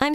I'm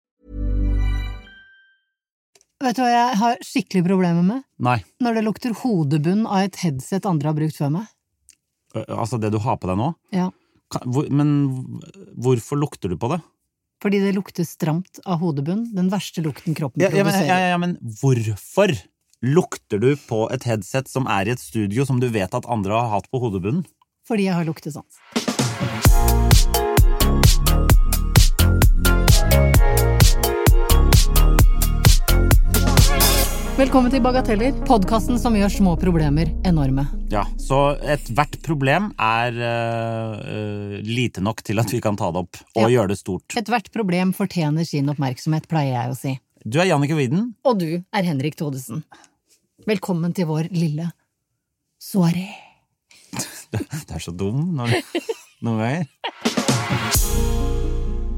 Vet du hva jeg har skikkelig problemer med? Nei. Når det lukter hodebunn av et headset andre har brukt før meg. Ø, Altså, det du har på deg nå Ja. kan, hvor, Men hvorfor lukter du på det? Fordi det lukter stramt av hodebunn. Den verste lukten kroppen Ja, ja, men, produserer. ja, ja, men hvorfor lukter du på et headset som er i et studio som du vet at andre har hatt på hodebunnen? Fordi jeg har luktesans. Velkommen til Bagateller, podkasten som gjør små problemer enorme. Ja, så ethvert problem er ø, ø, lite nok til at vi kan ta det opp og Ja. gjøre det stort. Ethvert problem fortjener sin oppmerksomhet, pleier jeg å si. Du er Jannicke Widen. Og du er Henrik Thodesen. Velkommen til vår lille soaré. Det er så dum når du noen ganger.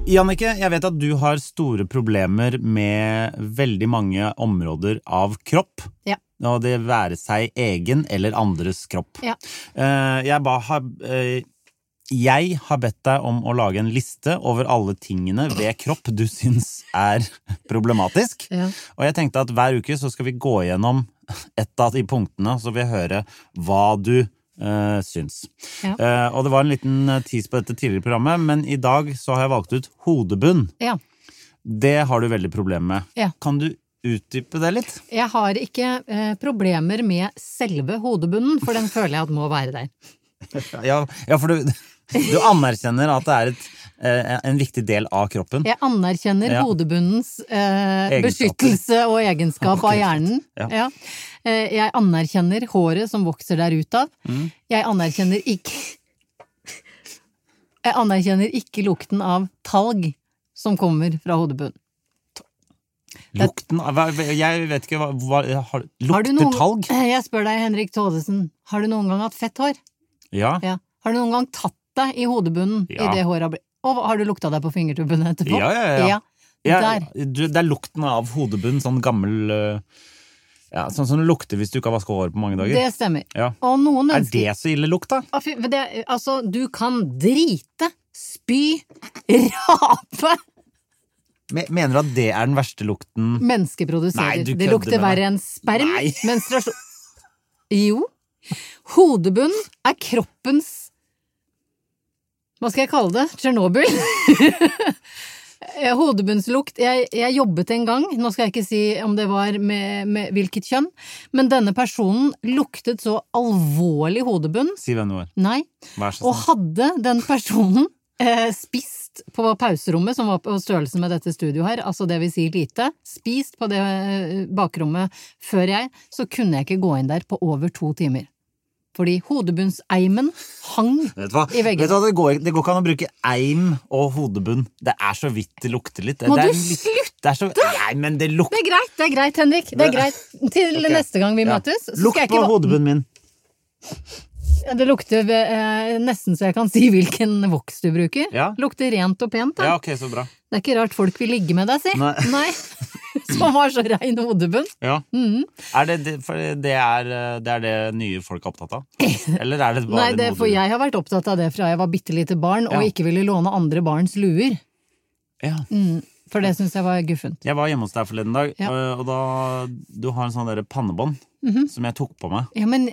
Jannicke, jeg vet at du har store problemer med veldig mange områder av kropp. Ja. Og det være seg egen eller andres kropp. Ja. Eh, Jeg, ba, har, eh, jeg har bedt deg om å lage en liste over alle tingene ved kropp du syns er problematisk. Ja. Og jeg tenkte at hver uke så skal vi gå gjennom et av de punktene, så vil jeg høre hva du eh, syns. Ja. Eh, og det var en liten eh, tease på dette tidligere i programmet, men i dag så har jeg valgt ut hodebunn. ja. Det har du veldig problemer med. Ja. Kan du utdype det litt? Jeg har ikke eh, problemer med selve hodebunnen, for den føler jeg at må være der. Ja, ja for du, du anerkjenner at det er et, eh, en viktig del av kroppen. Jeg anerkjenner Ja. hodebunnens eh, Egenskaper. beskyttelse og egenskap Ok, av hjernen. ja. Eh, jeg anerkjenner håret som vokser der ut av. Mm. Jeg anerkjenner ikke Jeg anerkjenner ikke lukten av talg som kommer fra hodebunnen. Lukten av hva- Jeg vet ikke hva, hva har, Har du Lukter noen- Eh, talg? Jeg spør deg, Henrik Thodesen, har du noen gang hatt fett hår? Ja. Ja. Har du noen gang tatt deg i hodebunnen Ja. i det håret har blitt Og har du lukta deg på fingertuppene etterpå? Ja, ja, ja. Der. Jeg- du, det er lukten av hodebunn, sånn gammel eh, ja, Sånn som det lukter hvis du ikke har vaska håret på mange dager. Det stemmer. ja. Og noen Er mennesker det så ille lukt, da? Å, fy- men det, altså, du kan drite, spy, rape Me- Mener du at det er den verste lukten? Nei, Menneskeproduserer. du Det kødder lukter med meg. verre enn sperm, Nei. menstruasjon Jo. Hodebunn er kroppens Hva skal jeg kalle det? Tsjernobyl? Eh, Hodebunnslukt jeg, jeg jobbet en gang, nå skal jeg ikke si om det var med, med hvilket kjønn, men denne personen luktet så alvorlig hodebunn. Si hvem du var. Nei, Vær så Og snill. hadde den personen eh, spist på pauserommet, som var på størrelse med dette studioet her, altså det vil si lite, spist på det eh, bakrommet før jeg, så kunne jeg ikke gå inn der på over to timer. Fordi hodebunnseimen hang Vet du hva? i veggen. Vet du hva? Det, går, ikke- det går ikke an å bruke eim og hodebunn. Det er så vidt det lukter litt. Må det er du litt- Det er så, nei, men det Det lukter er greit, det er greit, Henrik. Det er greit. Til Ok. neste gang vi Ja. møtes. så skal Lukt jeg på ikke- hodebunnen min. Det lukter eh, nesten så jeg kan si hvilken voks du bruker. Ja. Lukter rent og pent. Da. Ja, ok, så bra. Det er ikke rart folk vil ligge med deg, si. Nei. Som har så rein hodebunn. Ja. Mm. Er det, det, for det, er, eh, det er det nye folk er opptatt av? Eller er det bare Nei, det, for hodebunnen? jeg har vært opptatt av det fra jeg var bitte lite barn, og Ja. ikke ville låne andre barns luer. Ja. For det syns jeg var guffent. Jeg var hjemme hos deg forleden dag, eh, Ja. og- og da Du har en sånn derre pannebånd Mhm. som jeg tok på meg. Ja, men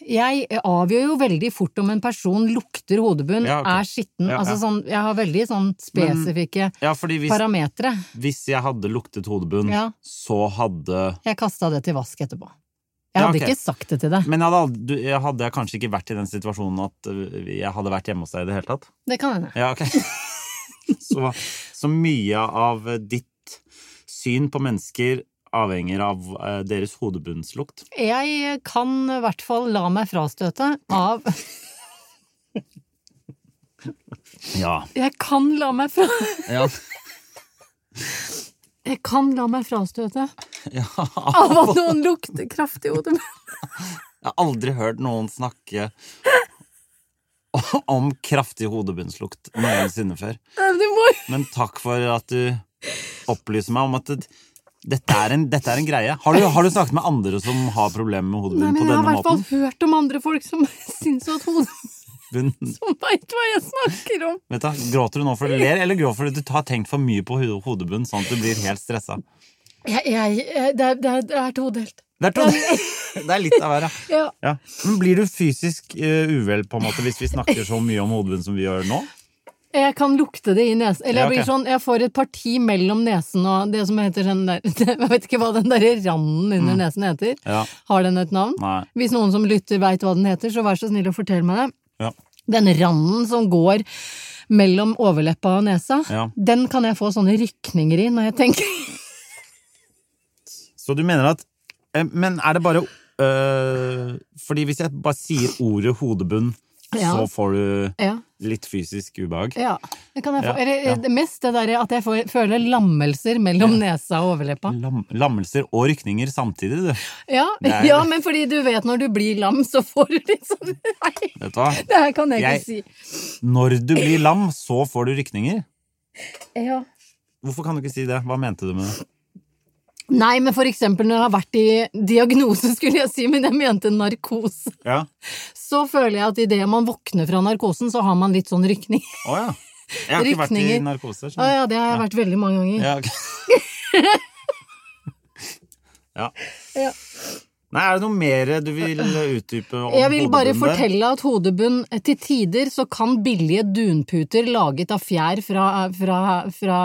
jeg avgjør jo veldig fort om en person lukter hodebunn, Ja, ok. er skitten. Ja, altså ja. sånn, jeg har veldig sånn spesifikke Ja, fordi hvis, parametre. hvis jeg hadde luktet hodebunn, Ja. så hadde Jeg kasta det til vask etterpå. Jeg Ja, hadde ok. ikke sagt det til deg. Men jeg hadde, aldri- du- jeg hadde kanskje ikke vært i den situasjonen at øh, jeg hadde vært hjemme hos deg i det hele tatt? Det kan hende. Ja, ok. Så, så mye av eh, ditt syn på mennesker avhenger av eh, deres hodebunnslukt. Jeg kan i hvert fall la meg frastøte av Ja. Jeg kan la meg fra... Jeg kan la meg frastøte Ja, av at noen lukter kraftig i hodet mitt. Jeg har aldri hørt noen snakke om kraftig hodebunnslukt noensinne før. Nei, men Du må Men takk for at du opplyser meg om at det, dette, er en, dette er en greie. Har du, har du snakket med andre som har problemer med Nei, hodebunn men på jeg har i denne hvert fall måten? hørt om andre folk som syns at hodet Bunn- som veit hva jeg snakker om. Vet du, gråter du nå fordi du ler, eller gråter du fordi du har tenkt for mye på ho- hodebunn, sånn at du blir helt stressa? Jeg, jeg, jeg- det, er, det, er, det er todelt. Det er, to, det er litt av hver, ja. Ja. ja. Men blir du fysisk eh, uvel på en måte hvis vi snakker så mye om hodebunn som vi gjør nå? Jeg kan lukte det i nesen. Eller Ja, jeg blir ok. sånn, jeg får et parti mellom nesen og det som heter den der Jeg vet ikke hva den derre randen under nesen heter. Mm. Ja. Har den et navn? Nei. Hvis noen som lytter veit hva den heter, så vær så snill å fortelle meg det. Ja. Den randen som går mellom overleppa og nesa, Ja. den kan jeg få sånne rykninger i når jeg tenker Så du mener at eh, Men er det bare øh, Fordi hvis jeg bare sier ordet hodebunn, Ja. så får du Ja. litt fysisk ubehag? Ja, det kan jeg få. Ja, Eller ja. det mest det derre at jeg får, føler lammelser mellom nesa og overleppa. Lam, lammelser og rykninger samtidig, du. Ja, Det er- ja, men fordi du vet når du blir lam, så får du litt sånn Nei, Vet du hva? det her kan jeg Jeg- ikke si. Når du blir lam, så får du rykninger. Ja. Hvorfor kan du ikke si det? Hva mente du med det? Nei, men for eksempel når jeg har vært i diagnose, skulle jeg si, men jeg mente narkose, Ja. så føler jeg at idet man våkner fra narkosen, så har man litt sånn rykning. Å ja. Jeg har ikke vært i Rykninger. Ja, narkose. skjønner ja, det har jeg vært veldig mange du. ganger. Ja, ok. ja. Ja. Nei, er det noe mer du vil utdype om Jeg vil bare hodebunnen der? fortelle at hodebunn til tider så kan billige dunputer laget av fjær fra, fra, fra,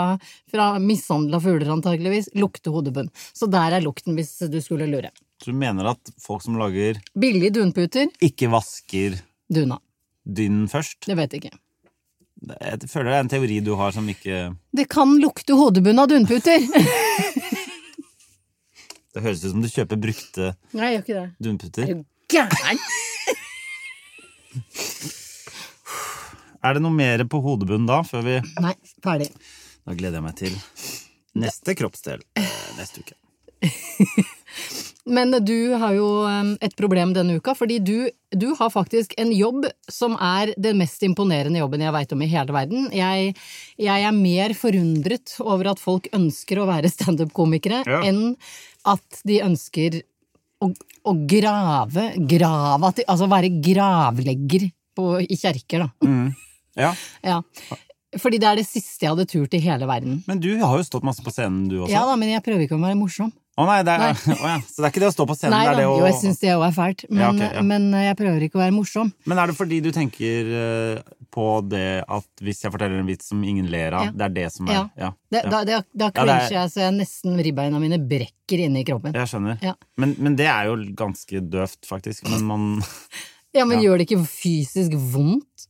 fra mishandla fugler antageligvis lukte hodebunn. Så der er lukten, hvis du skulle lure. Du mener at folk som lager Billige dunputer ikke vasker duna. dynen først. Det vet jeg ikke. Jeg føler det er en teori du har som ikke Det kan lukte hodebunn av dunputer! Det høres ut som du kjøper brukte Nei, jeg gjør ikke det. dunputer. Gæren! Er det noe mer på hodebunnen da, før vi Nei, ferdig. Da gleder jeg meg til neste kroppsdel eh, neste uke. Men du har jo eh, et problem denne uka, fordi du, du har faktisk en jobb som er den mest imponerende jobben jeg veit om i hele verden. Jeg, jeg er mer forundret over at folk ønsker å være standup-komikere Ja. enn at de ønsker å, å grave, grave at de, Altså være gravlegger på, i kjerker, Mm. da. Ja, Ja. Fordi det er det siste jeg hadde turt i hele verden. Men du har jo stått masse på scenen, du også. Ja da, men jeg prøver ikke å være morsom. Å nei, det er, Nei. Å, ja. Så det er ikke det å stå på scenen, Nei det da, er det å jo, jeg syns det òg er fælt, men, Ja, ok, ja. men eh, jeg prøver ikke å være morsom. Men er det fordi du tenker eh, på det at hvis jeg forteller en vits som ingen ler av, Ja. det er det som er Ja. Ja. Det, ja. Da, da, da Ja, det er- crincher jeg så jeg nesten ribbeina mine brekker inni kroppen. Ja, Jeg skjønner. Ja. Men, men det er jo ganske døvt, faktisk. Men man Men Ja. gjør det ikke fysisk vondt?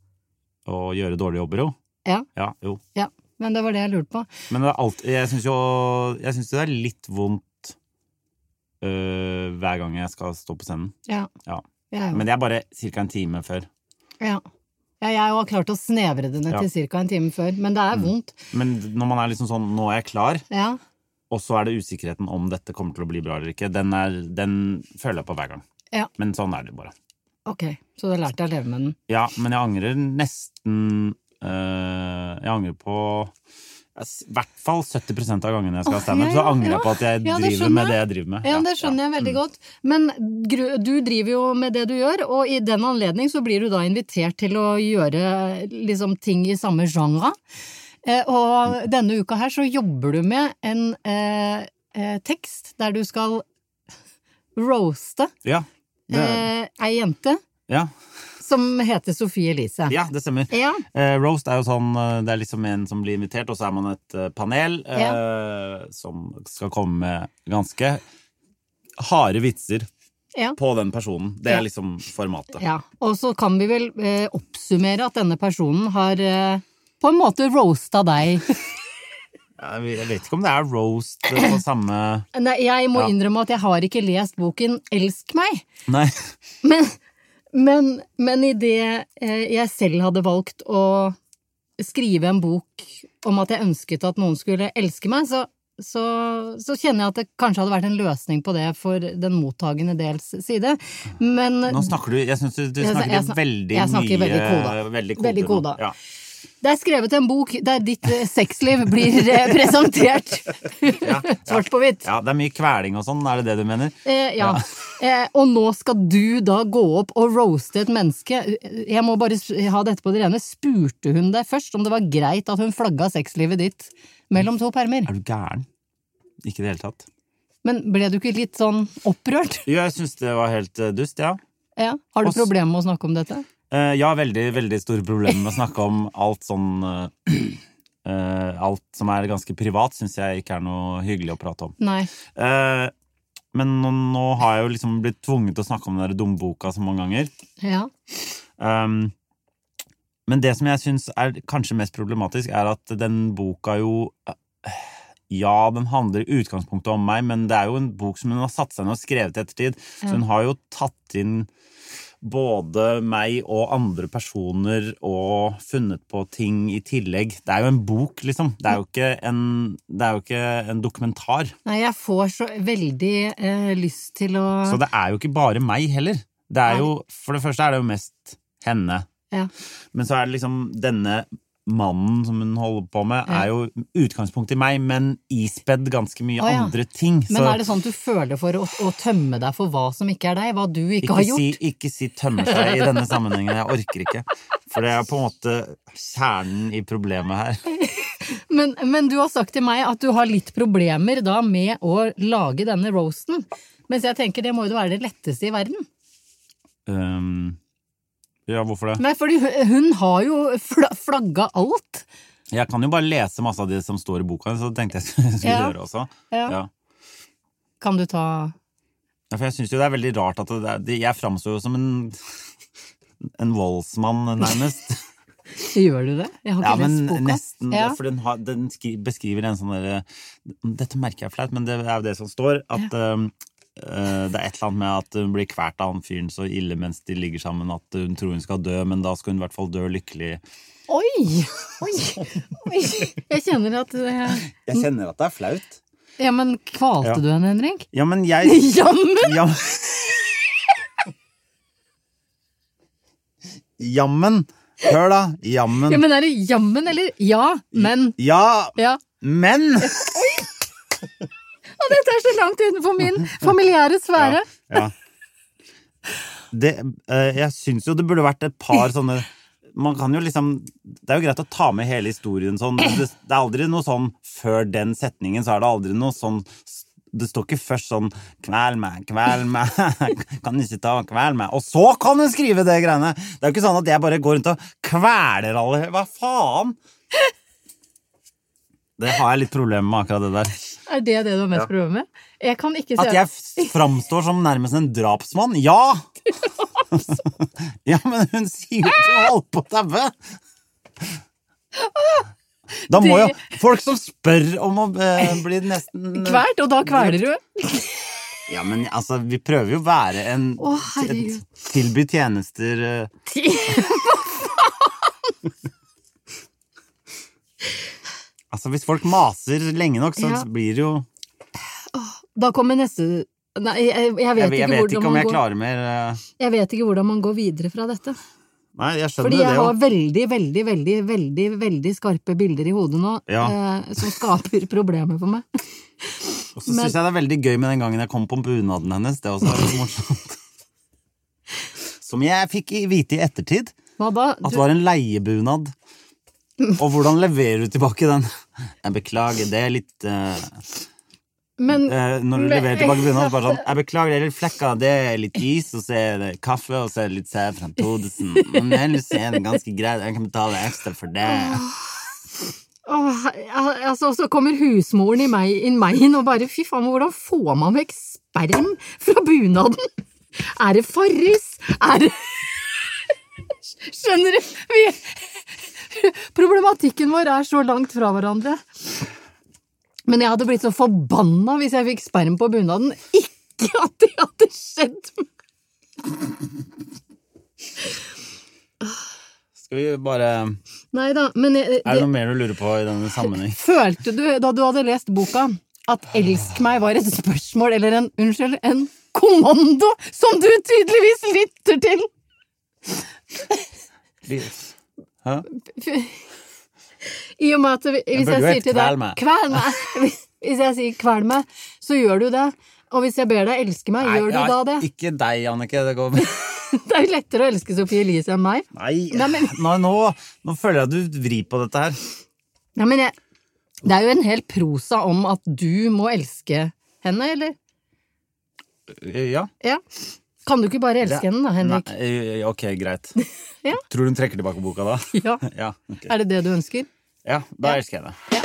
Å gjøre dårlige jobber, jo. Ja. Ja, jo. ja. Men det var det jeg lurte på. Men det er alt, jeg syns jo jeg synes jo det er litt vondt øh, hver gang jeg skal stå på scenen. Ja, Ja. jeg òg. Men det er bare ca. en time før. Ja. Ja, jeg har klart å snevre det ned Ja. Mm. til ca. en time før, men det er vondt. Men når man er liksom sånn 'nå er jeg klar', Ja. og så er det usikkerheten om dette kommer til å bli bra eller ikke, den, er, den føler jeg på hver gang. Ja. Men sånn er det bare. Ok, så da lærte jeg å leve med den. Ja, men jeg angrer nesten øh, Jeg angrer på ja, s- i hvert fall 70 av gangene jeg skal ha standup, ja, så ja, angrer ja. jeg på at jeg Ja, det driver skjønner med jeg. det jeg driver med. Ja, det skjønner jeg veldig godt. Men gru- du driver jo med det du gjør, og i den anledning så blir du da invitert til å gjøre liksom ting i samme genre. Eh, Og denne uka her så jobber du med en eh, eh, tekst der du skal roaste Ja. Det, eh, ei jente ja. som heter Sofie Elise. ja, det stemmer. Ja. Eh, roast er jo sånn eh, Det er liksom en som blir invitert, og så er man et eh, panel eh, som skal komme med ganske harde vitser Ja. på den personen. Det Ja. er liksom formatet. Ja, og så kan vi vel eh, oppsummere at denne personen har eh, på en måte roasta deg. Jeg vet- Jeg vet ikke om det er roast eh, på samme Nei, jeg må Ja. innrømme at jeg har ikke lest boken Elsk meg, Nei. men, men, men idet jeg selv hadde valgt å skrive en bok om at jeg ønsket at noen skulle elske meg, så så, så kjenner jeg at det kanskje hadde vært en løsning på det for den mottagende dels side, men Nå snakker du Jeg syns du, du Jeg sn- snakker jeg sn- veldig jeg snakker mye veldig koda. veldig Veldig nå. koda. Ja. det er skrevet en bok der ditt eh, sexliv blir eh, presentert svart på hvitt. ja, det er mye kveling og sånn, er det det du mener? Eh, ja. eh, og nå skal du da gå opp og roaste et menneske. Eh, Jeg må bare sp- ha dette på det rene. Spurte hun deg først om det var greit at hun flagga sexlivet ditt mellom to permer? Er du gæren? Ikke i det hele tatt. Men ble du ikke litt sånn opprørt? Jo, jeg syns det var helt eh, dust, ja. Ja. Har du Oss- problemer med å snakke om dette? Eh, ja, veldig, veldig store problemer med å snakke om alt sånn eh, eh, Alt som er ganske privat, syns jeg ikke er noe hyggelig å prate om. Nei. Eh, men nå, nå har jeg jo liksom blitt tvunget til å snakke om den der dumboka så mange ganger. Ja. Um, men det som jeg syns er kanskje mest problematisk, er at den boka jo eh, Ja, den handler i utgangspunktet om meg, men det er jo en bok som hun har satt seg ned og skrevet i ettertid. Så hun har jo tatt inn både meg og andre personer og funnet på ting i tillegg. Det er jo en bok, liksom. Det er jo ikke en, det er jo ikke en dokumentar. Nei, jeg får så veldig eh, lyst til å Så det er jo ikke bare meg heller. Det er jo, for det første er det jo mest henne. Ja. Men så er det liksom denne mannen som hun holder på med, er jo utgangspunkt i meg, men ispedd ganske mye Å, ja. andre ting. Men så er det sånn at du føler for å, å tømme deg for hva som ikke er deg? Hva du ikke, ikke, har gjort? si, ikke si tømmer seg i denne sammenhengen, jeg orker ikke. For det er på en måte kjernen i problemet her. Men, men du har sagt til meg at du har litt problemer da med å lage denne roasten. Mens jeg tenker det må jo være det letteste i verden. Um, ja, hvorfor det? Nei, fordi hun- hun har jo fla- flagga alt. Jeg kan jo bare lese masse av det som står i boka, så tenkte jeg skulle Ja. gjøre også. Ja. Ja. Kan du ta Ja, for jeg syns jo det er veldig rart at det er, de- jeg framstår jo som en, en voldsmann, nærmest. Gjør du det? Jeg har ikke Ja, men lest boka. nesten. Ja. For den, har, den skri- beskriver en sånn derre Dette merker jeg er flaut, men det er jo det som står. At øhm, øh, det er et eller annet med at hun blir kvært av han fyren så ille mens de ligger sammen at hun tror hun skal dø, men da skal hun i hvert fall dø lykkelig. Oi! Oi! Oi! Jeg kjenner at det- Jeg kjenner at det er flaut. Ja, men kvalte Ja. du henne, Henrik? Ja, men jeg Jammen! Jam... Jammen. Hør, da. Jammen. Ja, men er det jammen eller ja, men? Ja, Ja. men Og dette er så langt utenfor min familiære sfære. ja. Det, eh, Jeg syns jo det burde vært et par sånne man kan jo liksom, Det er jo greit å ta med hele historien sånn. men Det, det er aldri noe sånn før den setningen, så er det aldri noe sånn Det står ikke først sånn 'Kvel meg, kvel meg, kan ikke ta kvel meg' Og så kan hun skrive det greiene! Det er jo ikke sånn at jeg bare går rundt og kveler alle Hva faen? Det har jeg litt problemer med, akkurat det der. Er det det du har mest problemer med? Jeg kan ikke se At jeg f- framstår som nærmest en drapsmann? Ja! ja, men hun sier jo ikke hun holdt på å daue! Da må jo Det- folk som spør om å eh, bli nesten Kvært, og da kveler du. Ja, men altså, vi prøver jo å være en Å, herregud. t- Tilby tjenester eh. Altså, hvis folk maser lenge nok, så Ja. blir det jo Da kommer neste Nei, jeg, jeg vet, Jeg, jeg vet ikke, ikke hvordan om man jeg går, klarer mer eh. jeg vet ikke hvordan man går videre fra dette. Nei, jeg skjønner Fordi det jeg jo. har veldig, veldig, veldig veldig, veldig skarpe bilder i hodet nå Ja. eh, som skaper problemer for meg. Og så syns jeg det er veldig gøy med den gangen jeg kom på bunaden hennes. Det er også litt morsomt. Som jeg fikk i- vite i ettertid Hva da? at det Du, var en leiebunad. Og hvordan leverer du tilbake den? Jeg beklager, det er litt eh, men eh, Når du Men- leverer tilbake bunad, bare sånn Jeg beklager, det er litt flekker, det er litt is, og så er det kaffe, og så er det litt Sæfran Thodesen. Men ellers er det ganske greit, jeg kan betale ekstra for det. åh, al- altså, Så kommer husmoren i meg inn meg inn og bare Fy faen, men hvordan får man vekk sperm fra bunaden? Er det farris? Er det Skjønner du? Vi... Problematikken vår er så langt fra hverandre. Men jeg hadde blitt så forbanna hvis jeg fikk sperm på bunaden. Ikke at det hadde skjedd! Skal vi bare Nei da, men jeg, Er det det, noe mer du lurer på i denne sammenheng? følte du da du hadde lest boka at 'elsk meg' var et spørsmål eller en Unnskyld, en kommando som du tydeligvis lytter til! Hæ? I og med at vi- hvis jeg burde jo sier hett til deg kvel meg. Kvel meg! Hvis jeg sier 'kvel meg', så gjør du det. Og hvis jeg ber deg elske meg, gjør du da det? Ikke deg, Annike. Det går Det er jo lettere å elske Sophie Elise enn meg. Nei, Nei, men- nå, nå, nå føler jeg at du vrir på dette her. Nei, men jeg, det er jo en hel prosa om at du må elske henne, eller? Ja. Ja. Kan du ikke bare elske henne da, Henrik? Nei, eh, ok, greit. Ja. Tror du hun trekker tilbake boka da? Ja. Ja, ok. Er det det du ønsker? ja da elsker jeg det.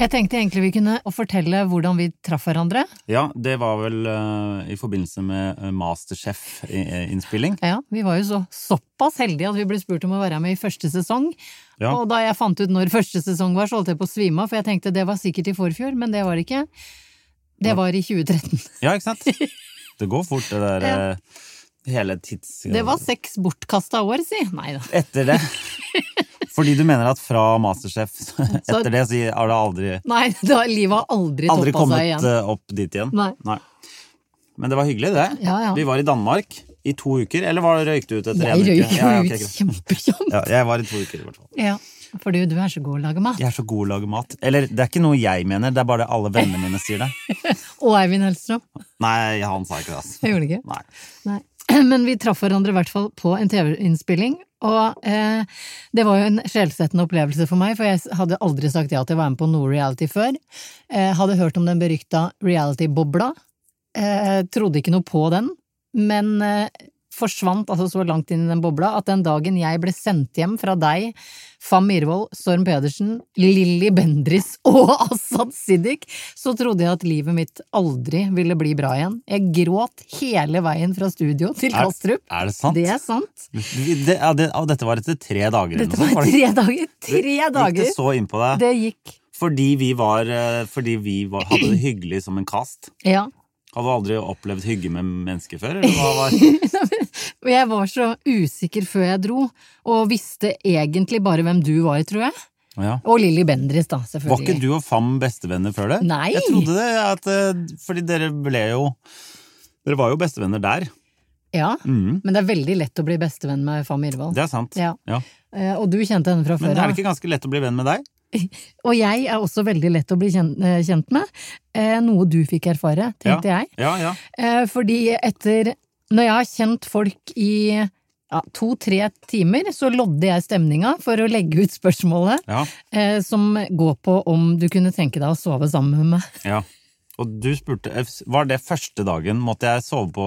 Jeg tenkte egentlig vi kunne fortelle hvordan vi traff hverandre. Ja, det var vel eh, i forbindelse med eh, Masterchef-innspilling. Ja, Vi var jo så, såpass heldige at vi ble spurt om å være med i første sesong. Ja. Og da jeg fant ut når første sesong var, så holdt jeg på å svime av, for jeg tenkte det var sikkert i forfjor, men det var det ikke. Det var i 2013. Ja, ikke sant? Det går fort, det der eh, hele tids... Det var seks bortkasta år, si. Nei da. Etter det. Fordi du mener at fra Masterchef etter det, så har det aldri, Nei, da, livet har aldri, aldri toppa kommet seg igjen. eh, opp dit igjen? Nei. Men det var hyggelig, det. Ja, ja. Vi var i Danmark i to uker. Eller var røyk du ut etter Jeg en uke? røyk jo Ja, ja, ok, ut greit. kjempekjapt. Ja, jeg var i to uker, i hvert fall. Ja, fordi du er så god å lage mat. Jeg er så god til å lage mat. Eller, det er ikke noe jeg mener, det er bare det alle vennene mine sier det. Og Eivind Hellstrøm. Nei, han sa ikke det, ass. Jeg gjorde det ikke. Nei. Nei. Men vi traff hverandre i hvert fall på en TV-innspilling, og eh, det var jo en skjellsettende opplevelse for meg, for jeg hadde aldri sagt ja til å være med på noe reality før. Eh, hadde hørt om den berykta reality-bobla. Eh, trodde ikke noe på den, men eh, forsvant altså så langt inn i den bobla at den dagen jeg ble sendt hjem fra deg, Fam Myhrvold, Storm Pedersen, Lilly Bendris og Assad Siddik, så trodde jeg at livet mitt aldri ville bli bra igjen. Jeg gråt hele veien fra studio til Er, Kastrup. er det sant? Det er sant. Vi- Det, ja, det, og dette var etter tre dager. eller Dette noe sånt, var det- tre dager. Tre Gikk dager! det så inn på deg? Det gikk. Fordi vi, var, eh, fordi vi var, hadde det hyggelig som en kast. Ja. Hadde du aldri opplevd hygge med mennesker før? Eller hva var Og jeg var så usikker før jeg dro, og visste egentlig bare hvem du var, tror jeg. ja. Og Lilly Bendris, da, Var selvfølgelig. ikke du og Fam bestevenner før det? Nei. Jeg trodde det, at, eh, fordi dere ble jo Dere var jo bestevenner der. Ja, Mhm. men det er veldig lett å bli bestevenn med Fam Irvold. Det er sant. Ja. Eh, Og du kjente henne fra Men før er av. det ikke ganske lett å bli venn med deg? Og jeg er også veldig lett å bli kjent, eh, kjent med. Eh, Noe du fikk erfare, tenkte jeg. Ja, ja. Eh, Fordi etter Når jeg har kjent folk i ja, to-tre timer, så lodde jeg stemninga for å legge ut spørsmålet ja. eh, som går på om du kunne tenke deg å sove sammen med meg. Ja. Og du spurte eh, Var det første dagen? Måtte jeg sove på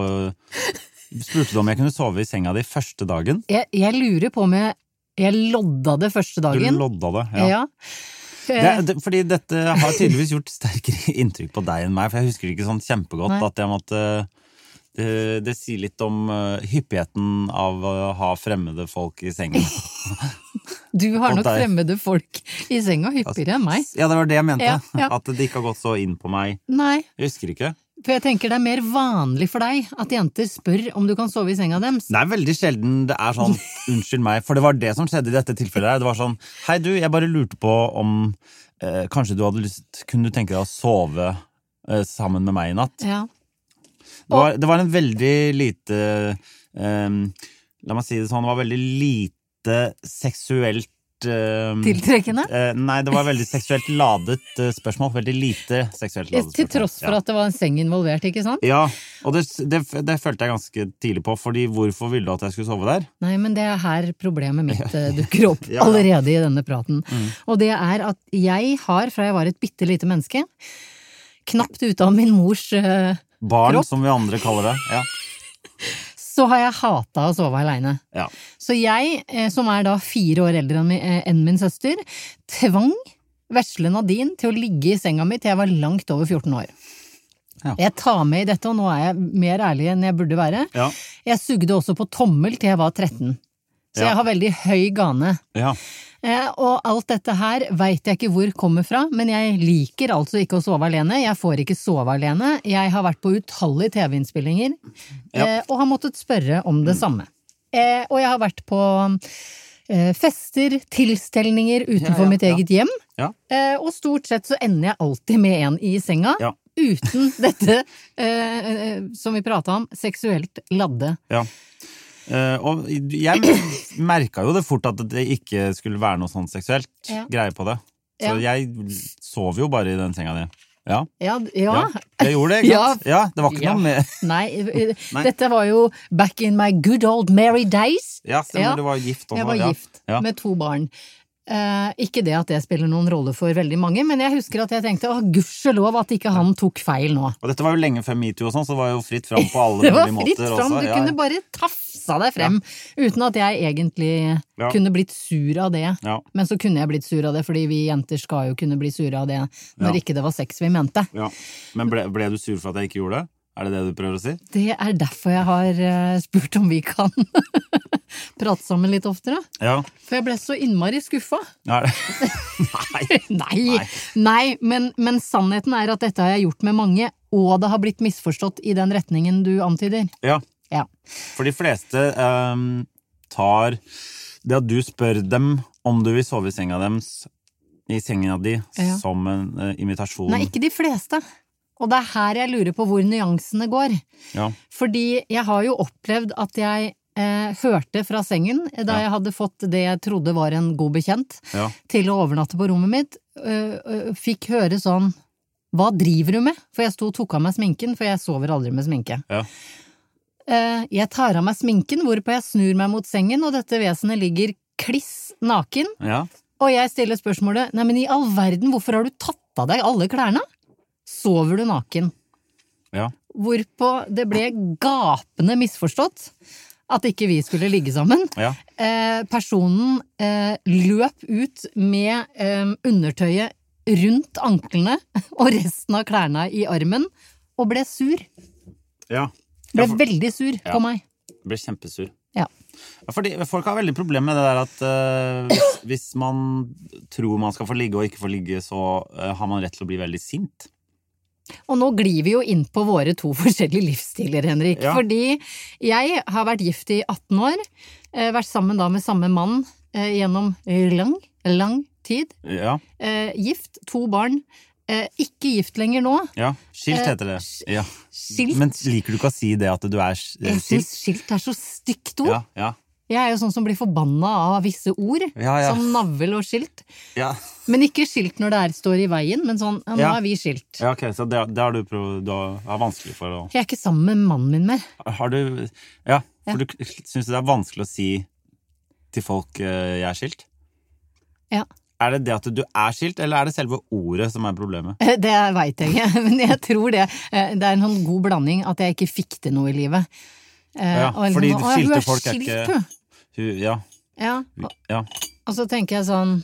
Spurte du om jeg kunne sove i senga di første dagen? Jeg, jeg lurer på om jeg, jeg lodda det første Du dagen. lodda det. Ja. ja. Det, Eh, det, fordi dette har tydeligvis gjort sterkere inntrykk på deg enn meg, for jeg husker det ikke sånn kjempegodt Nei. at jeg måtte det, det sier litt om eh, hyppigheten av å ha fremmede folk i sengen. Du har og nok deg. fremmede folk i senga hyppigere enn meg. Ja, det var det jeg mente. Ja, ja. At det ikke har gått så inn på meg. Nei, Jeg husker ikke. for jeg tenker det er mer vanlig for deg at jenter spør om du kan sove i senga deres. Det er veldig sjelden det er sånn 'unnskyld meg', for det var det som skjedde i dette tilfellet. her. Det var sånn 'hei, du, jeg bare lurte på om eh, kanskje du hadde lyst Kunne du tenke deg å sove eh, sammen med meg i natt?' Ja. Det var, det var en veldig lite ehm, La meg si det sånn, det var veldig lite seksuelt ehm, Tiltrekkende. eh, nei, det var veldig seksuelt ladet eh, spørsmål. Veldig lite seksuelt ladet spørsmål. Til tross Ja. for at det var en seng involvert, ikke sant? Ja, og det, det, det følte jeg ganske tidlig på, fordi hvorfor ville du at jeg skulle sove der? Nei, men det er her problemet mitt eh, dukker opp Ja, Mm. ja. allerede i denne praten. Og det er at jeg har, fra jeg var et bitte lite menneske, knapt ute av min mors eh, Barn, Kropp. som vi andre kaller det. Ja. så har jeg hata å sove aleine. Ja. Så jeg, eh, som er da fire år eldre enn mi- eh, enn min søster, tvang vesle Nadine til å ligge i senga mi til jeg var langt over 14 år. Ja. Jeg tar med i dette, og nå er jeg mer ærlig enn jeg burde være. Ja. Jeg sugde også på tommel til jeg var 13. Så Ja. jeg har veldig høy gane. Ja. Eh, og alt dette her veit jeg ikke hvor kommer fra, men jeg liker altså ikke å sove alene. Jeg får ikke sove alene. Jeg har vært på utallige TV-innspillinger Ja. Mm. eh, og har måttet spørre om det samme. Eh, og jeg har vært på eh, fester, tilstelninger utenfor Ja, ja, mitt ja. eget hjem. Ja. Eh, og stort sett så ender jeg alltid med en i senga. Ja. Uten dette, eh, eh, som vi prata om, seksuelt ladde. Ja. Eh, og jeg merka jo det fort at det ikke skulle være noe sånn seksuelt Ja. greie på det. Så jeg sov jo bare i den senga di. Ja. Ja, ja. Jeg gjorde det, ikke sant? Ja, det var ikke Ja. noe med Nei, eh, Nei. dette var jo back in my good old merry days. Ja, stemmer, Ja. du Sånn var gift også. Jeg var ja. gift Ja. med to barn. Eh, ikke det at det spiller noen rolle for veldig mange, men jeg husker at jeg tenkte å gudskjelov at ikke han tok feil nå. Og dette var jo lenge før metoo og sånn, så det var jo fritt fram på alle Det var mulige fritt måter. fram, også. du Ja, kunne bare tafsa deg frem uten at jeg egentlig Ja. kunne blitt sur av det. Ja. Men så kunne jeg blitt sur av det, fordi vi jenter skal jo kunne bli sure av det når Ja. ikke det var sex vi mente. ja. Men ble, ble du sur for at jeg ikke gjorde det? Er det det du prøver å si? Det er derfor jeg har eh, spurt om vi kan prate sammen litt oftere. Ja. For jeg ble så innmari skuffa. Er det- Nei. Nei, nei men, men sannheten er at dette har jeg gjort med mange, og det har blitt misforstått i den retningen du antyder. Ja. Ja. For de fleste ehm, tar det at du spør dem om du vil sove i senga deres, i senga di, Ja. som en eh, invitasjon. Nei, ikke de fleste. Og det er her jeg lurer på hvor nyansene går. Ja. Fordi jeg har jo opplevd at jeg eh, hørte fra sengen, da Ja. jeg hadde fått det jeg trodde var en god bekjent, Ja. til å overnatte på rommet mitt, øh, øh, fikk høre sånn Hva driver du med? For jeg sto og tok av meg sminken, for jeg sover aldri med sminke. Ja. Eh, jeg tar av meg sminken, hvorpå jeg snur meg mot sengen, og dette vesenet ligger kliss naken, ja. og jeg stiller spørsmålet Nei, men i all verden, hvorfor har du tatt av deg alle klærne? Sover du naken? Ja. Hvorpå det ble gapende misforstått at ikke vi skulle ligge sammen. Ja. Eh, personen eh, løp ut med eh, undertøyet rundt anklene og resten av klærne i armen, og ble sur. ja. Ble Ja, for- veldig sur Ja. på meg. Blir kjempesur. Ja. Ja, fordi Folk har veldig problemer med det der at eh, hvis, hvis man tror man skal få ligge og ikke få ligge, så eh, har man rett til å bli veldig sint. Og nå glir vi jo inn på våre to forskjellige livsstiler, Henrik. Ja. Fordi jeg har vært gift i 18 år, eh, vært sammen da med samme mann eh, gjennom lang, lang tid. Ja, Eh, Gift, to barn. eh, Ikke gift lenger nå. ja. Skilt heter det. Ja. Eh, Skilt. Men liker du ikke å si det at du er s- eh, Jeg skilt? syns skilt er så stygt ord. Ja, ja, Jeg er jo sånn som blir forbanna av visse ord, Ja, ja. som navl og skilt. ja. Men ikke skilt når det er, står i veien, men sånn ja, nå Ja. er vi skilt. ja ok, så det, det har du prøvd å Det er vanskelig for å Jeg er ikke sammen med mannen min mer. Har du Ja, for du syns det er vanskelig å si til folk eh, 'jeg er skilt'? Ja. Er det det at du er skilt, eller er det selve ordet som er problemet? Eh, Det veit jeg ikke, men jeg tror det. Eh, Det er en sånn god blanding at jeg ikke fikk til noe i livet. Eh, Ja, og en fordi sånn, «Å, skilte hun er folk er skilt, ikke- hun». Hun- Ja. Ja, og, ja. og så tenker jeg sånn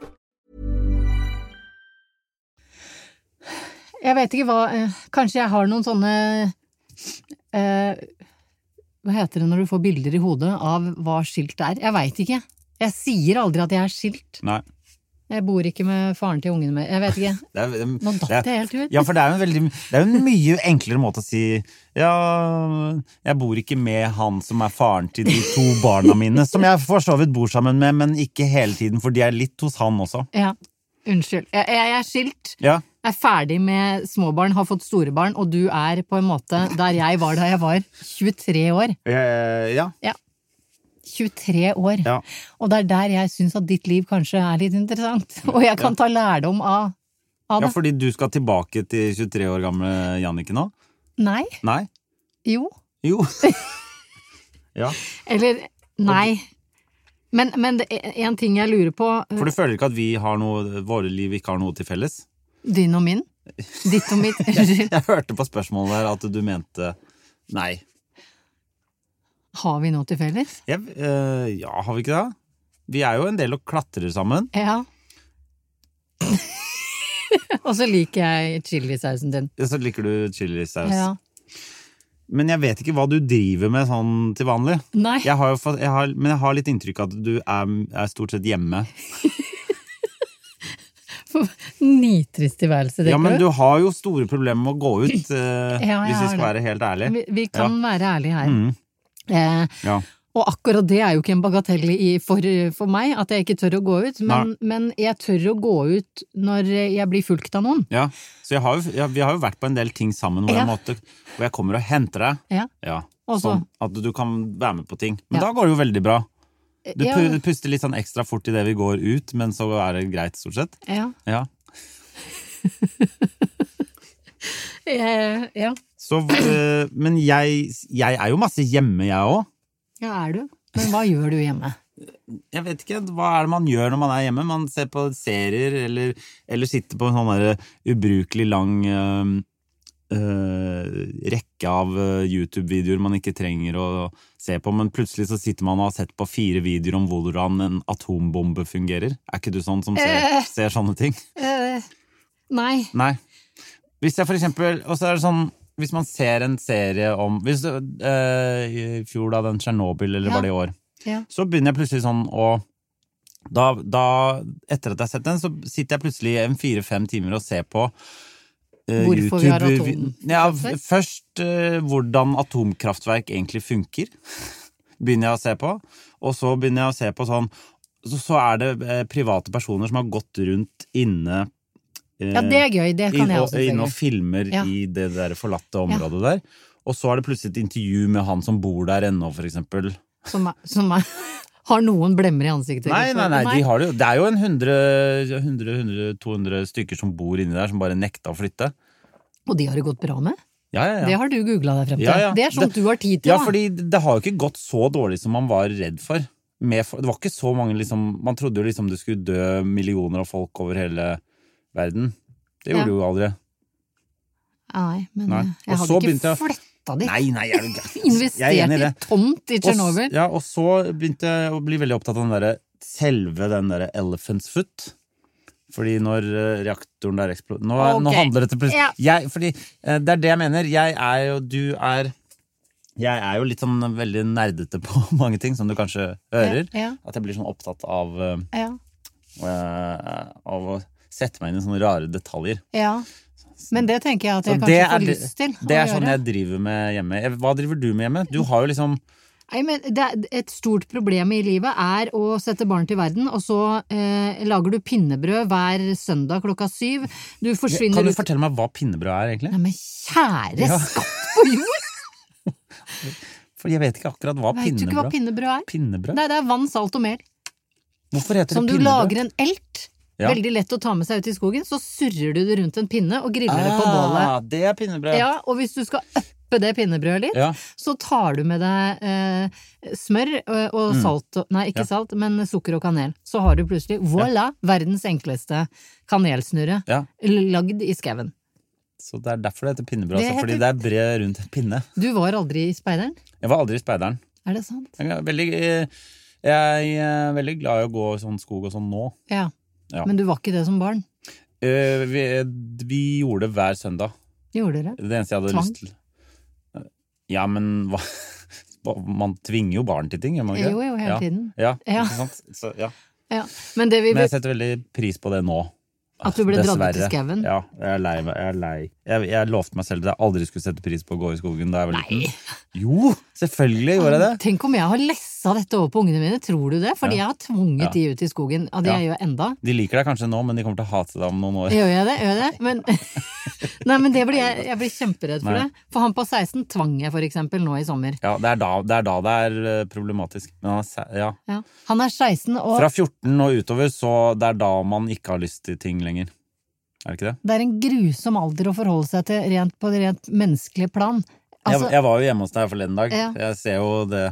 Jeg vet ikke hva eh, Kanskje jeg har noen sånne eh, Hva heter det når du får bilder i hodet av hva skilt er? Jeg veit ikke. Jeg sier aldri at jeg er skilt. Nei. Jeg bor ikke med faren til ungene mer. Jeg vet ikke. Det er, Nå datt det er- jeg helt ut. Ja, for det er jo en, veldig, det er jo en mye enklere måte å si Ja, jeg bor ikke med han som er faren til de to barna mine, som jeg for så vidt bor sammen med, men ikke hele tiden, for de er litt hos han også. Ja. Unnskyld. Jeg, jeg er skilt. Ja. Er ferdig med småbarn, har fått store barn, og du er på en måte der jeg var da jeg var 23 år. Eh, ja. Ja. 23 år. Ja. Og det er der jeg syns at ditt liv kanskje er litt interessant, og jeg kan ta lærdom av, av Ja, det. fordi du skal tilbake til 23 år gamle Jannicke nå? Nei. Nei? Jo. Jo. ja. Eller nei. Men, men det er en ting jeg lurer på, For du føler ikke at vi har noe, våre liv ikke har noe til felles? eh, din og min? Ditt og mitt? Unnskyld. Jeg hørte på spørsmålet her at du mente nei. Har vi noe til felles? Jeg, eh, ja, har vi ikke det? Vi er jo en del og klatrer sammen. Ja. og så liker jeg chilisausen din. Og så liker du chilisaus. Ja. Men jeg vet ikke hva du driver med sånn til vanlig. Nei. Jeg har jo fått, jeg har, men jeg har litt inntrykk av at du er, er stort sett hjemme. Nitrist tilværelse, det Ja, men du. du har jo store problemer med å gå ut, eh, Ja, jeg hvis vi har skal det. være helt ærlige. Vi, vi kan være ærlige her. Mm. Eh, Ja. og akkurat det er jo ikke en bagatell i, for, for meg, at jeg ikke tør å gå ut. Men, Nei. men jeg tør å gå ut når jeg blir fulgt av noen. Ja. Så jeg har jo, ja, vi har jo vært på en del ting sammen hvor, Ja. jeg, måtte, hvor jeg kommer og henter deg. Ja. Ja. Og så- Sånn at du kan være med på ting. Men Ja. da går det jo veldig bra. Du Ja. pu- puster litt sånn ekstra fort idet vi går ut, men så er det greit, stort sett. Ja. Ja. Eh, ja. Så, eh, men jeg, jeg er jo masse hjemme, jeg òg. ja, er du. Men hva gjør du hjemme? Jeg vet ikke, Hva er det man gjør når man er hjemme? Man ser på serier, eller, eller sitter på en sånn der ubrukelig lang eh, eh, rekke av eh, YouTube-videoer man ikke trenger å se på, men plutselig så sitter man og har sett på fire videoer om hvordan en atombombe fungerer. Er ikke du sånn som ser, ser sånne ting? Eh, nei. Nei. Hvis jeg for eksempel Og så er det sånn Hvis man ser en serie om Hvis du, eh, I fjor, da, den Tsjernobyl, eller Ja. var det i år? Ja. Så begynner jeg plutselig sånn å da, da, etter at jeg har sett den, så sitter jeg plutselig en fire-fem timer og ser på eh, Hvorfor vi har YouTube- atom- Ja, f- først eh, hvordan atomkraftverk egentlig funker, begynner jeg å se på. Og så begynner jeg å se på sånn Så, så er det eh, private personer som har gått rundt inne eh, Ja, det er gøy. Det kan inn- jeg og- også Inne og tenke. filmer Ja. i det der forlatte området der. Og så er det plutselig et intervju med han som bor der ennå, for eksempel. Som, er- som er, har noen blemmer i ansiktet. Nei, nei, liksom. nei, de har det, jo. det er jo en 100, 100, 100, 200 stykker som bor inni der, som bare nekta å flytte. Og de har det gått bra med? Ja, ja, ja. Det har du googla deg frem til. Ja, ja. Det er sånt du har tid til, Ja, da. fordi det har jo ikke gått så dårlig som man var redd for. Med, for- det var ikke så mange liksom, Man trodde jo liksom det skulle dø millioner av folk over hele verden. Det Ja. gjorde det jo aldri. Nei, men Nei. eh, Og jeg så hadde begynte ikke jeg- flytta dit. Nei, nei, er du gæren? Jeg er enig Investert i i det. tomt i Og s- Tsjernobyl. Ja, og så begynte jeg å bli veldig opptatt av den derre selve den derre elephant's foot. Fordi når eh, reaktoren der eksploderer nå, nå Ok. handler dette plutselig Ja. jeg, Fordi eh, det er det jeg mener. Jeg er jo Du er Jeg er jo litt sånn veldig nerdete på mange ting, som du kanskje hører. Ja, ja. At jeg blir sånn opptatt av eh, Ja. eh, Av å sette meg inn i sånne rare detaljer. ja. Men det tenker jeg at Så jeg kanskje får det- lyst til det er å sånn gjøre. jeg driver med hjemme. Eh, Hva driver du med hjemme? Du har jo liksom Nei, men det er et stort problem i livet er å sette barn til verden, og så eh, lager du pinnebrød hver søndag klokka syv. Du forsvinner Kan du ut fortelle meg hva pinnebrød er, egentlig? Nei, men kjære Ja. skatt på jord! For jeg vet ikke akkurat hva Vet du ikke hva pinnebrød pinnebrød er? Pinnebrød? Nei, det er vann, salt og mel. Hvorfor heter Som det du pinnebrød? lager en elt. Ja. Veldig lett å ta med seg ut i skogen. Så surrer du det rundt en pinne og griller det på bålet. Ah, det er pinnebrød. Ja, og hvis du skal uppe det pinnebrødet litt, Ja. så tar du med deg eh, smør eh, og Mm. salt og- Nei, ikke salt, men sukker og kanel. Så har du plutselig, voilà, verdens enkleste kanelsnurre Ja, lagd i skauen. Så det er derfor det heter pinnebrød. Det altså, Fordi det heter- er bred rundt en pinne. Du var aldri i speideren? Jeg var aldri i speideren. Er det sant? Jeg er veldig, eh, jeg er veldig glad i å gå i sånn skog og sånn nå. Ja. Ja. Men du var ikke det som barn? Eh, Vi, vi gjorde det hver søndag. Gjorde dere? Det eneste jeg hadde Tvang? lyst til. Ja, men hva Man tvinger jo barn til ting, gjør man ikke? det? Jo, jo, hele ja. tiden. Ja, Ja. ikke sant? Så, ja. Ja. Men det vi Men jeg setter veldig pris på det nå. At du ble dratt ut i Dessverre. skauen? Ja, jeg er lei. meg, Jeg er lei. Jeg, jeg lovte meg selv at jeg aldri skulle sette pris på å gå i skogen da jeg var liten. Jo, selvfølgelig gjorde jeg det. Tenk om jeg har lest pressa dette over på ungene mine, tror du det? Fordi jeg har tvunget de ut i skogen. Ja, det Ja. jeg gjør enda. De liker deg kanskje nå, men de kommer til å hate deg om noen år. Gjør jeg det? Gjør jeg det? Men, nei, men det blir jeg, jeg blir kjemperedd for Nei. det. For han på 16 tvang jeg for eksempel nå i sommer. Ja, det er da det er, da det er eh, problematisk. Men han er, sæ- ja. Ja. Han er 16, og Fra 14 og utover, så det er da man ikke har lyst til ting lenger. Er det ikke det? det er en grusom alder å forholde seg til rent på det rent menneskelige plan. Altså, jeg, jeg var jo hjemme hos deg forleden dag. Ja. Jeg ser jo det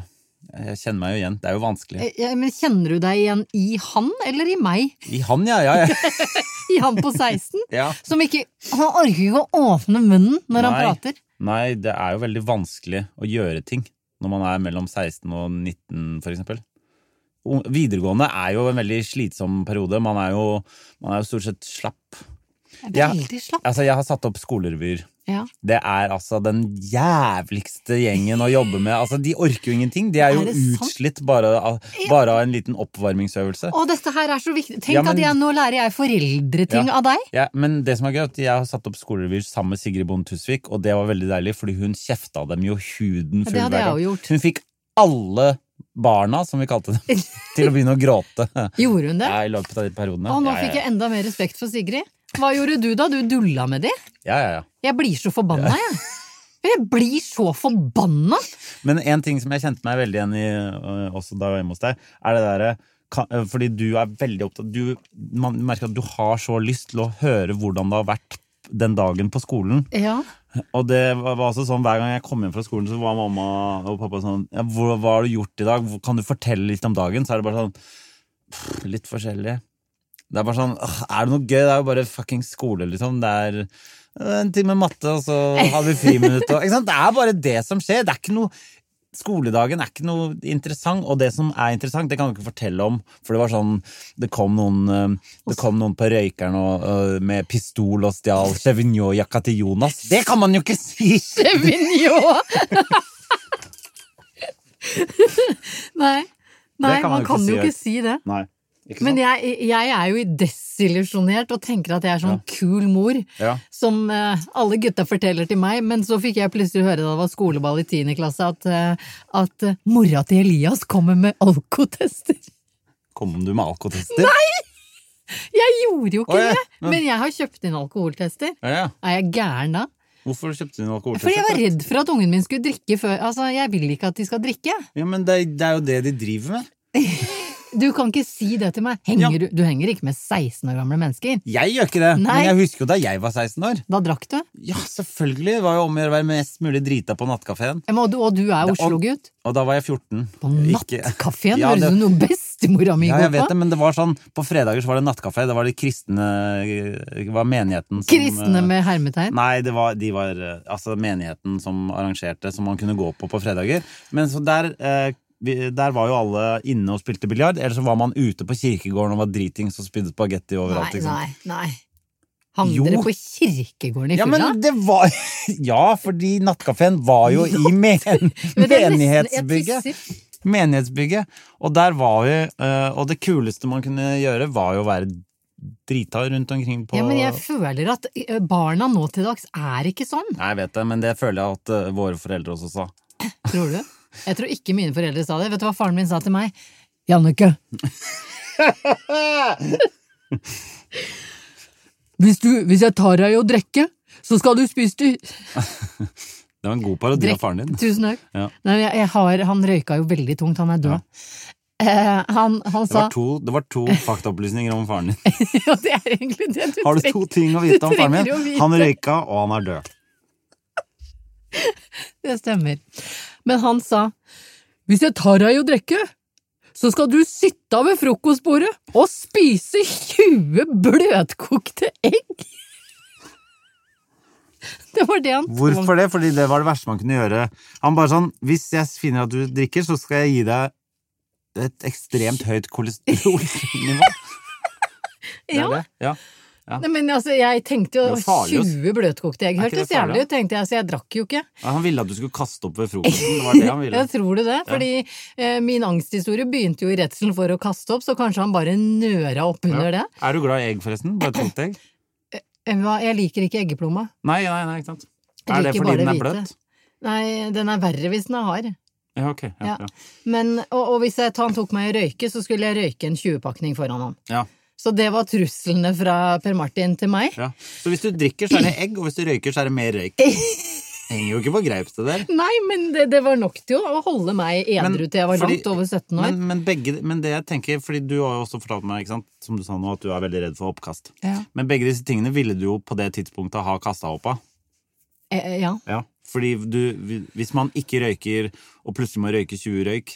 Jeg kjenner meg jo igjen. Det er jo vanskelig. eh, ja, men kjenner du deg igjen i han eller i meg? I han, ja. ja, ja. I han på 16? ja. Som ikke Han orker ikke å åpne munnen når han Nei. prater. Nei, det er jo veldig vanskelig å gjøre ting når man er mellom 16 og 19, for eksempel. O- Videregående er jo en veldig slitsom periode. Man er jo, man er jo stort sett slapp. Jeg Ja. er veldig slapp. Altså, jeg har satt opp skolerevyer. Ja. Det er altså den jævligste gjengen å jobbe med. Altså, De orker jo ingenting. De er jo Er det sant? utslitt bare av, bare av en liten oppvarmingsøvelse. Å, dette her er så viktig. Tenk Ja, men- at jeg, nå lærer jeg foreldreting Ja. av deg. Ja, men det som er gøy, er at jeg har satt opp skolerevyer sammen med Sigrid Bonde Tusvik, og det var veldig deilig, fordi hun kjefta dem jo huden Ja, full det hadde hver jeg gang. jo gjort. Hun fikk alle barna, som vi kalte dem, til å begynne å gråte. Gjorde hun det? Ja, I løpet av de periodene. Og nå Ja, ja, fikk ja. jeg enda mer respekt for Sigrid. Hva gjorde du da? Du dulla med de? Ja, ja, ja. Jeg blir så forbanna, jeg. Jeg blir så forbanna! Men en ting som jeg kjente meg veldig igjen i øh, også da jeg var hjemme hos deg, er det derre kan- øh, fordi du er veldig opptatt du, Man merker at du har så lyst til å høre hvordan det har vært den dagen på skolen. Ja. Og det var var også sånn, Hver gang jeg kom hjem fra skolen, så var mamma og pappa sånn ja, 'Hva hva har du gjort i dag? Hvor- Kan du fortelle litt om dagen?' Så er det bare sånn pff, Litt forskjellig. Det er bare sånn «Åh, Er det noe gøy? Det er jo bare fucking skole, liksom. Det er eh, en time matte, og så har vi friminutt og ikke sant? Det er bare det som skjer. Det er ikke noe Skoledagen er ikke noe interessant, og det som er interessant, det kan du ikke fortelle om. For det var sånn Det kom noen, eh, det kom noen på røykeren og, eh, med pistol og stjal Chevignon-jakka til Jonas. Det kan man jo ikke si! Vigneault! Nei. Nei, kan man kan jo ikke høyt. si det. Nei. Ikke Men sant? jeg, jeg er jo desillusjonert og tenker at jeg er sånn kul mor Ja. som eh, alle gutta forteller til meg, men så fikk jeg plutselig høre da det var skoleball i 10. klasse at, eh, at eh, mora til Elias kommer med alkotester. Kom du med alkotester? Nei! Jeg gjorde jo ikke Å, ja. det! Men jeg har kjøpt inn alkoholtester. Ja, ja. Er jeg gæren da? Hvorfor kjøpte du en alkoholtester? Fordi jeg var redd for at ungen min skulle drikke før Altså, jeg vil ikke at de skal drikke. Ja, men det, er- det er jo det de driver med. Du kan ikke si det til meg. Henger Ja. du, du henger ikke med 16 år gamle mennesker. Jeg gjør ikke det, Nei. men jeg husker jo da jeg var 16 år. Da drakk du. Ja, selvfølgelig. Det var jo om å gjøre å være mest mulig drita på nattkafeen. Men, Og du, og du er Det- og- Oslo-gutt. Og da var jeg 14. På Ikke- nattkaffen Ja, høres det- det ut som noe bestemora mi Ja, går jeg vet på. det, men det var sånn På fredager så var det nattkafé. Det var de kristne Det var menigheten som Kristne eh, med hermetegn. Nei, det var, de var eh, altså menigheten som arrangerte, som man kunne gå på på fredager. Men så der, eh, vi, der var jo alle inne og spilte biljard, eller så var man ute på kirkegården og var dritings og spydde spagetti overalt. Nei, ikke sant? nei, nei. Hang Jo. dere på kirkegården i Ja, fylla? men det var Ja, fordi nattkafeen var jo i men, Men det er nesten- jeg menighetsbygget. tisser. Menighetsbygget. Og der var vi eh, Og det kuleste man kunne gjøre, var jo å være drita rundt omkring på Ja, men jeg føler at eh, barna nå til dags er ikke sånn, Nei, jeg vet det, men det føler jeg at eh, våre foreldre også sa. tror du? Jeg tror ikke mine foreldre sa det. Vet du hva faren min sa til meg? Jannicke. hvis, du, hvis jeg tar deg i å drikke, så skal du spise du. Det var en god parodi av faren din. Tusen takk. Ja. Nei, jeg, jeg har, han røyka jo veldig tungt, han er død. Eh, han, han Det sa var to, det var to faktaopplysninger om faren din. Ja, det er egentlig det du Har du to trenger. ting å vite om Du faren trenger å min? vite. Han røyka, og han er død. Det stemmer. Men han sa Hvis jeg tar deg i å drikke, så skal du sitte ved frokostbordet og spise 20 bløtkokte egg! Det var det han Hvorfor det? Fordi det var det verste man kunne gjøre. Han bare sånn Hvis jeg finner at du drikker, så skal jeg gi deg et ekstremt høyt kolesterolnivå. Det er Ja. det? Ja. Nei, men altså, jeg tenkte jo Det er farlig, ass. 20 bløtkokte egg Er ikke hørtes det farlig, jævlig ut, tenkte jeg, så jeg drakk jo ikke. Ja, Han ville at du skulle kaste opp ved frokosten. Det var det han ville. Jeg tror du det? Fordi eh, min angsthistorie begynte jo i redselen for å kaste opp, så kanskje han bare nøra opp under det. Er du glad i egg, forresten? Bare et tungt egg? Eh, hva- Jeg liker ikke eggeplomma. Nei, nei, nei, ikke sant. Jeg Er det liker fordi bare den er hvite. bløt? Nei, den er verre hvis den er hard. Ja, ok. Ja, Ja. ja. Men, og, og hvis jeg, han tok meg i røyke, så skulle jeg røyke en 20-pakning foran han. Ja. Så det var truslene fra Per Martin til meg. Ja. Så hvis du drikker, så er det egg, og hvis du røyker, så er det mer røyk. Henger jo ikke på greip, det der. Nei, men det, det var nok til å holde meg edru til jeg var fordi- langt over 17 år. Men, men, begge, men det jeg tenker, fordi du har jo også fortalt meg, ikke sant, som du sa nå, at du er veldig redd for oppkast. Ja. Men begge disse tingene ville du jo på det tidspunktet ha kasta opp av. eh, ja. Ja. Fordi du, hvis man ikke røyker, og plutselig må røyke 20 røyk,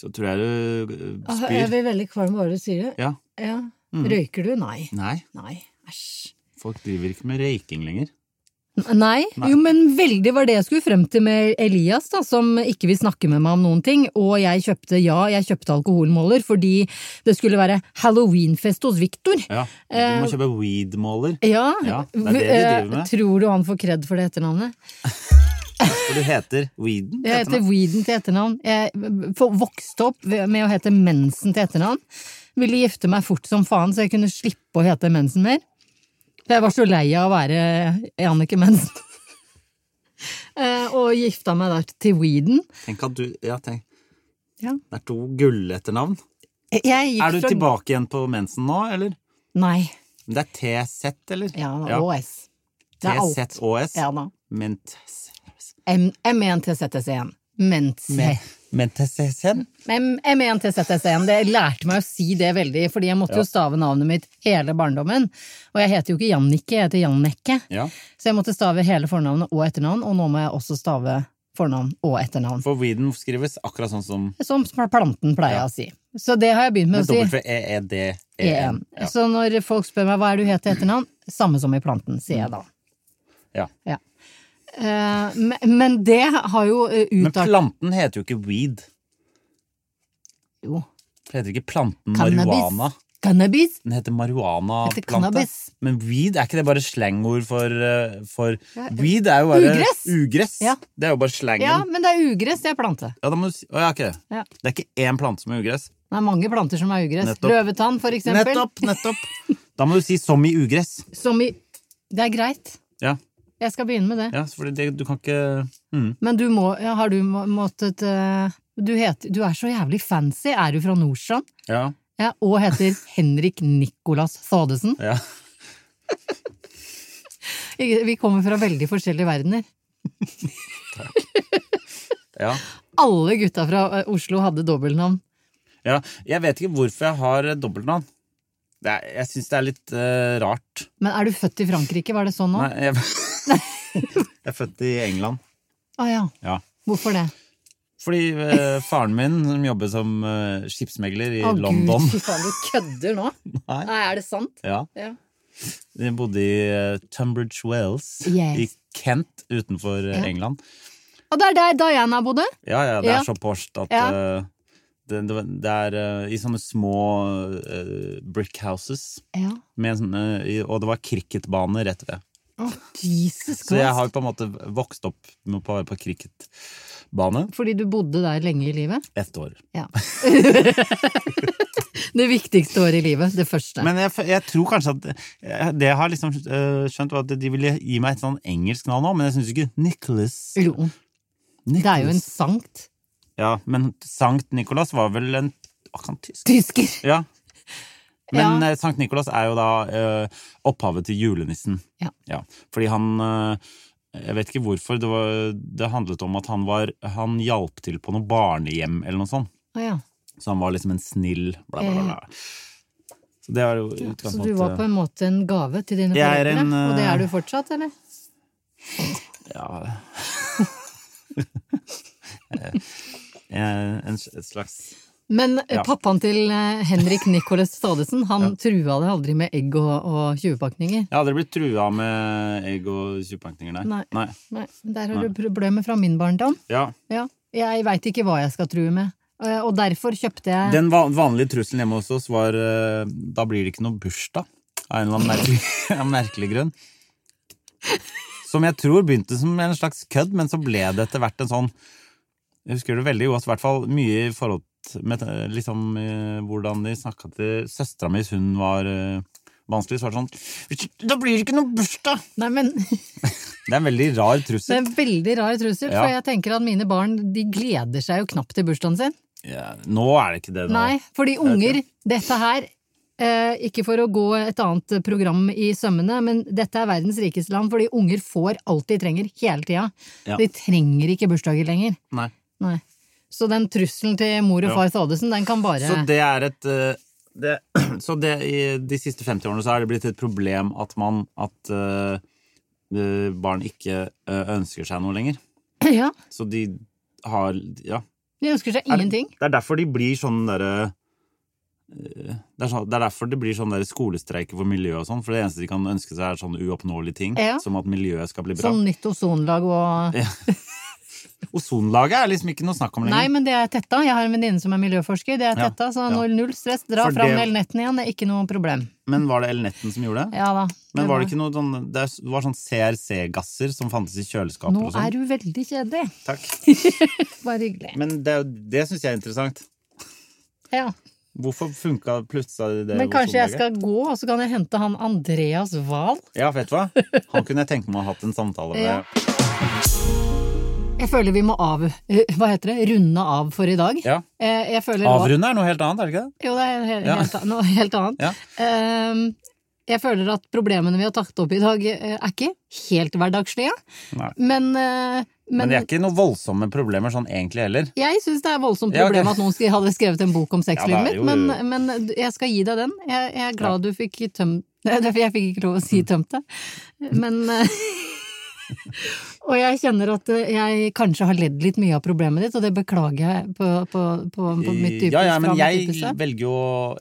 så tror jeg du eh, Ah, Jeg spyr. blir veldig kvalm bare du sier det. Ja. Mm. Ja. Røyker du? Nei. Nei, Nei. Æsj. folk driver ikke med røyking lenger. N- Nei. Jo, men veldig var det jeg skulle frem til med Elias, da, som ikke vil snakke med meg om noen ting. Og jeg kjøpte, ja, jeg kjøpte alkoholmåler fordi det skulle være halloweenfest hos Viktor. Ja. Eh, Du må kjøpe weed-måler, Ja, Ja, det er det de driver med. eh, tror du han får kred for det etternavnet? for du heter Weeden. Jeg heter Weeden til etternavn. Jeg for- vokste opp ved- med å hete Mensen til etternavn. Ville gifte meg fort som faen, så jeg kunne slippe å hete Mensen mer. For jeg var så lei av å være Jannicke Mensen. Eh, Og gifta meg der til Weeden. Tenk at du, ja, tenk. Ja. Det er to gulletternavn. Jeg gikk Er du fra- tilbake igjen på mensen nå, eller? Nei. Det er TZ, eller? Ja, Ja. OS. Det er alt. TZOS. Ja da. Mentes... M- M1 til ZTC1. Mens. Men- Mentesen? Men M1 til ZSN, det lærte meg å si det veldig, fordi jeg måtte jo stave navnet mitt hele barndommen. Og jeg heter jo ikke Jannicke, jeg heter Jannecke. Ja. Så jeg måtte stave hele fornavnet og etternavn, og nå må jeg også stave fornavn og etternavn. For weeden skrives akkurat sånn som Som planten pleier jeg å si. Så det har jeg E begynt med med å E si. W-E-E-D-E-N. E1. Ja. Så når folk spør meg hva er det du heter til etternavn, samme som i planten, sier jeg da. Ja. Ja. Eh, men- men det har jo eh, Men utart... planten heter jo ikke weed. Jo. For det heter ikke planten marihuana. Cannabis. Cannabis. Den heter Heter marihuana-plante. cannabis. Men weed, er ikke det bare slangord for, eh, for Ja, Weed er jo bare ugress. ugress. Ja. Det er jo bare slangen. Ja, Ja. men det er ugress, det er plante. da må du si Å, ja, ikke det. Ja. Det er ikke én plante som er ugress. Det er mange planter som er ugress. Nettopp. Løvetann, for eksempel. Nettopp! nettopp Da må du si som i ugress. Som i Det er greit. Ja, Jeg skal begynne med det. ja for det, du kan ikke mm. Men du må ja, Har du må- måttet eh, du, heter, du er så jævlig fancy. Er du fra Nordstrand? Ja. Ja, og heter Henrik Nicolas Thadesen. ja. Vi kommer fra veldig forskjellige verdener. ja. Alle gutta fra eh, Oslo hadde dobbeltnavn. Ja, jeg vet ikke hvorfor jeg har eh, dobbeltnavn. Det er, jeg syns det er litt eh, rart. Men er du født i Frankrike? Var det sånn nå? Nei, jeg, jeg er født i England. Å Ah, ja. Ja. Hvorfor det? Fordi eh, faren min, som jobber som eh, skipsmegler i Å London gud, fy faen, du kødder nå? Nei. Nei, er det sant? ja, Ja. De bodde i eh, Tunbridge Wells Yes. i Kent utenfor eh, England. Og Ah, det er der Diana bodde? Ja, ja, det Ja. er så porscht at Ja. eh, det, det, var- det er eh, i sånne små eh, brick houses. Ja. Med sånne, i- og det var cricketbane rett ved. Å, Jesus Så jeg Christ. har på en måte vokst opp med å være på cricketbane Fordi du bodde der lenge i livet? ett år. Ja. det viktigste året i livet. Det første. Men jeg, f- jeg tror kanskje at eh, Det jeg har liksom eh, skjønt, var at de ville gi meg et sånn engelsk navn òg, men jeg syns ikke Nicholas. Jo, det er jo en sankt Ja, men Sankt Nicholas var vel en Var ikke han tysk? tysker. Ja. Men Ja. eh, Sankt Nikolas er jo da eh, opphavet til julenissen. Ja. Fordi han eh, Jeg vet ikke hvorfor. Det, var, det handlet om at han var Han hjalp til på noe barnehjem eller noe sånt. Å ja. Så han var liksom en snill bla, bla, bla. bla. Så det er jo Eh. Så du utgangspunktet. var på en måte en gave til dine Jeg er foreldre? en, eh, Og det er du fortsatt, eller? ja. Eh, en, s- et slags Men eh, Ja. pappaen til eh, Henrik Nicolas Stadesen, han trua deg aldri med egg og, og 20-pakninger? Jeg hadde blitt trua med egg og tjuvpakninger, nei. Nei. Nei, der har du problemet fra min barndom. Ja. Ja. Jeg veit ikke hva jeg skal true med, Eh, og derfor kjøpte jeg Den va- vanlige trusselen hjemme hos oss var eh, Da blir det ikke noe bursdag Av en eller annen merkelig, av merkelig grunn Som jeg tror begynte som en slags kødd Men så ble det etter hvert en sånn Jeg husker det veldig godt I hvert fall mye i forhold til med, eh, liksom, eh, Hvordan de snakket til søstera mi Hvis hun var eh, vanskelig Så var det sånn Da blir det ikke noe bursdag Nei, men Det er en veldig rar Det er trussel. en veldig rar trussel, Ja. for jeg tenker at mine barn de gleder seg jo knapt til bursdagen sin. Ja, nå er det ikke det. Nå. Nei, fordi Jeg unger Dette her eh, Ikke for å gå et annet program i sømmene, men dette er verdens rikeste land, fordi unger får alt de trenger hele tida. Ja. De trenger ikke bursdager lenger. Nei. Nei. Så den trusselen til mor og far Thodesen, den kan bare Så det er et eh, det, Så det, i de siste 50 årene så er det blitt et problem at man At eh, eh, barn ikke eh, ønsker seg noe lenger. Ja. Så de har Ja. De ønsker seg Er det- ingenting. Det er derfor de blir sånn derre eh, det er, sånn, det er derfor det blir sånn der skolestreiker for miljø og sånn. For det eneste de kan ønske seg, er sånne uoppnåelige ting. Ja. Som at miljøet skal bli bra. Sånn nytt ozonlag og Ozonlaget er liksom ikke noe snakk om Nei, lenger. men det er tetta. Jeg har en venninne som er miljøforsker. Det er Ja, tetta, så ja. nå null stress. Dra For fram det- elnetten igjen, det er ikke noe problem. Men var det Elnetten som gjorde det? Ja da. Men var det ikke noe sånn Det er- var sånn CRC-gasser som fantes i kjøleskaper Nå og er sånn. du veldig kjedelig. Takk. Bare hyggelig. Men det, er jo- det syns jeg er interessant. Ja. Hvorfor funka plutselig sånn det Men kanskje jeg skal ozonlaget? gå, og så kan jeg hente han Andreas Wahl. Ja, vet du hva? Han kunne jeg tenke meg å ha hatt en samtale med. Ja. Jeg føler vi må av eh, Hva heter det? Runde av for i dag. Ja. Eh, Jeg føler nå- Avrunde er noe helt annet, er det ikke det? Jo, det er helt, Ja. helt, an- noe helt annet. Ja. Ehm, jeg føler at problemene vi har tatt opp i dag, eh, er ikke helt hverdagslige. Nei. Men, eh, men, Men det er ikke noen voldsomme problemer sånn egentlig heller. jeg syns det er voldsomt Ja, ok. problem at noen skri- hadde skrevet en bok om Ja, sexlivet det er mitt, men, jo- men jeg skal gi deg den. Jeg, jeg er glad du fikk tømt Nei, det er fordi jeg fikk ikke lov å si Mm. tømt det. Men eh, Og jeg kjenner at eh, jeg kanskje har ledd litt mye av problemet ditt, og det beklager jeg på, på, på, på mitt dypeste. ja, ja, men fra mitt jeg dypeste. velger jo å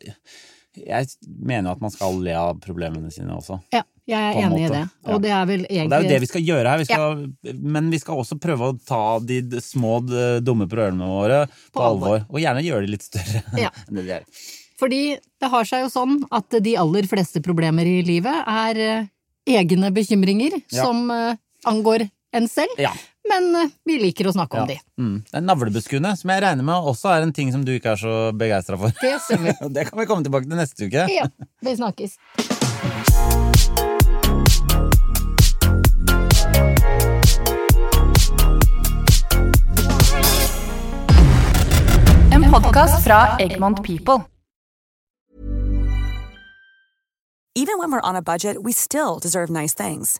Jeg mener jo at man skal le av problemene sine også. Ja, jeg På er en enig i måte. det. Ja. Og det er vel egentlig Og det er jo det vi skal gjøre her, vi skal, men vi skal også prøve å ta de d- små, d- dumme problemene våre på, alvor. Og gjerne gjøre de litt større. Ja. enn det de er. Fordi det har seg jo sånn at de aller fleste problemer i livet er eh, egne bekymringer Ja. som eh, angår en selv, Ja. men eh, vi liker å snakke om de. Mm. Det er Navlebeskuende, som jeg regner med også er en ting som du ikke er så begeistra for. Det ser vi. Det kan vi komme tilbake til neste uke. Ja, vi snakkes. En podkast fra Egmont People. Even when we're on a budget, we still deserve nice things.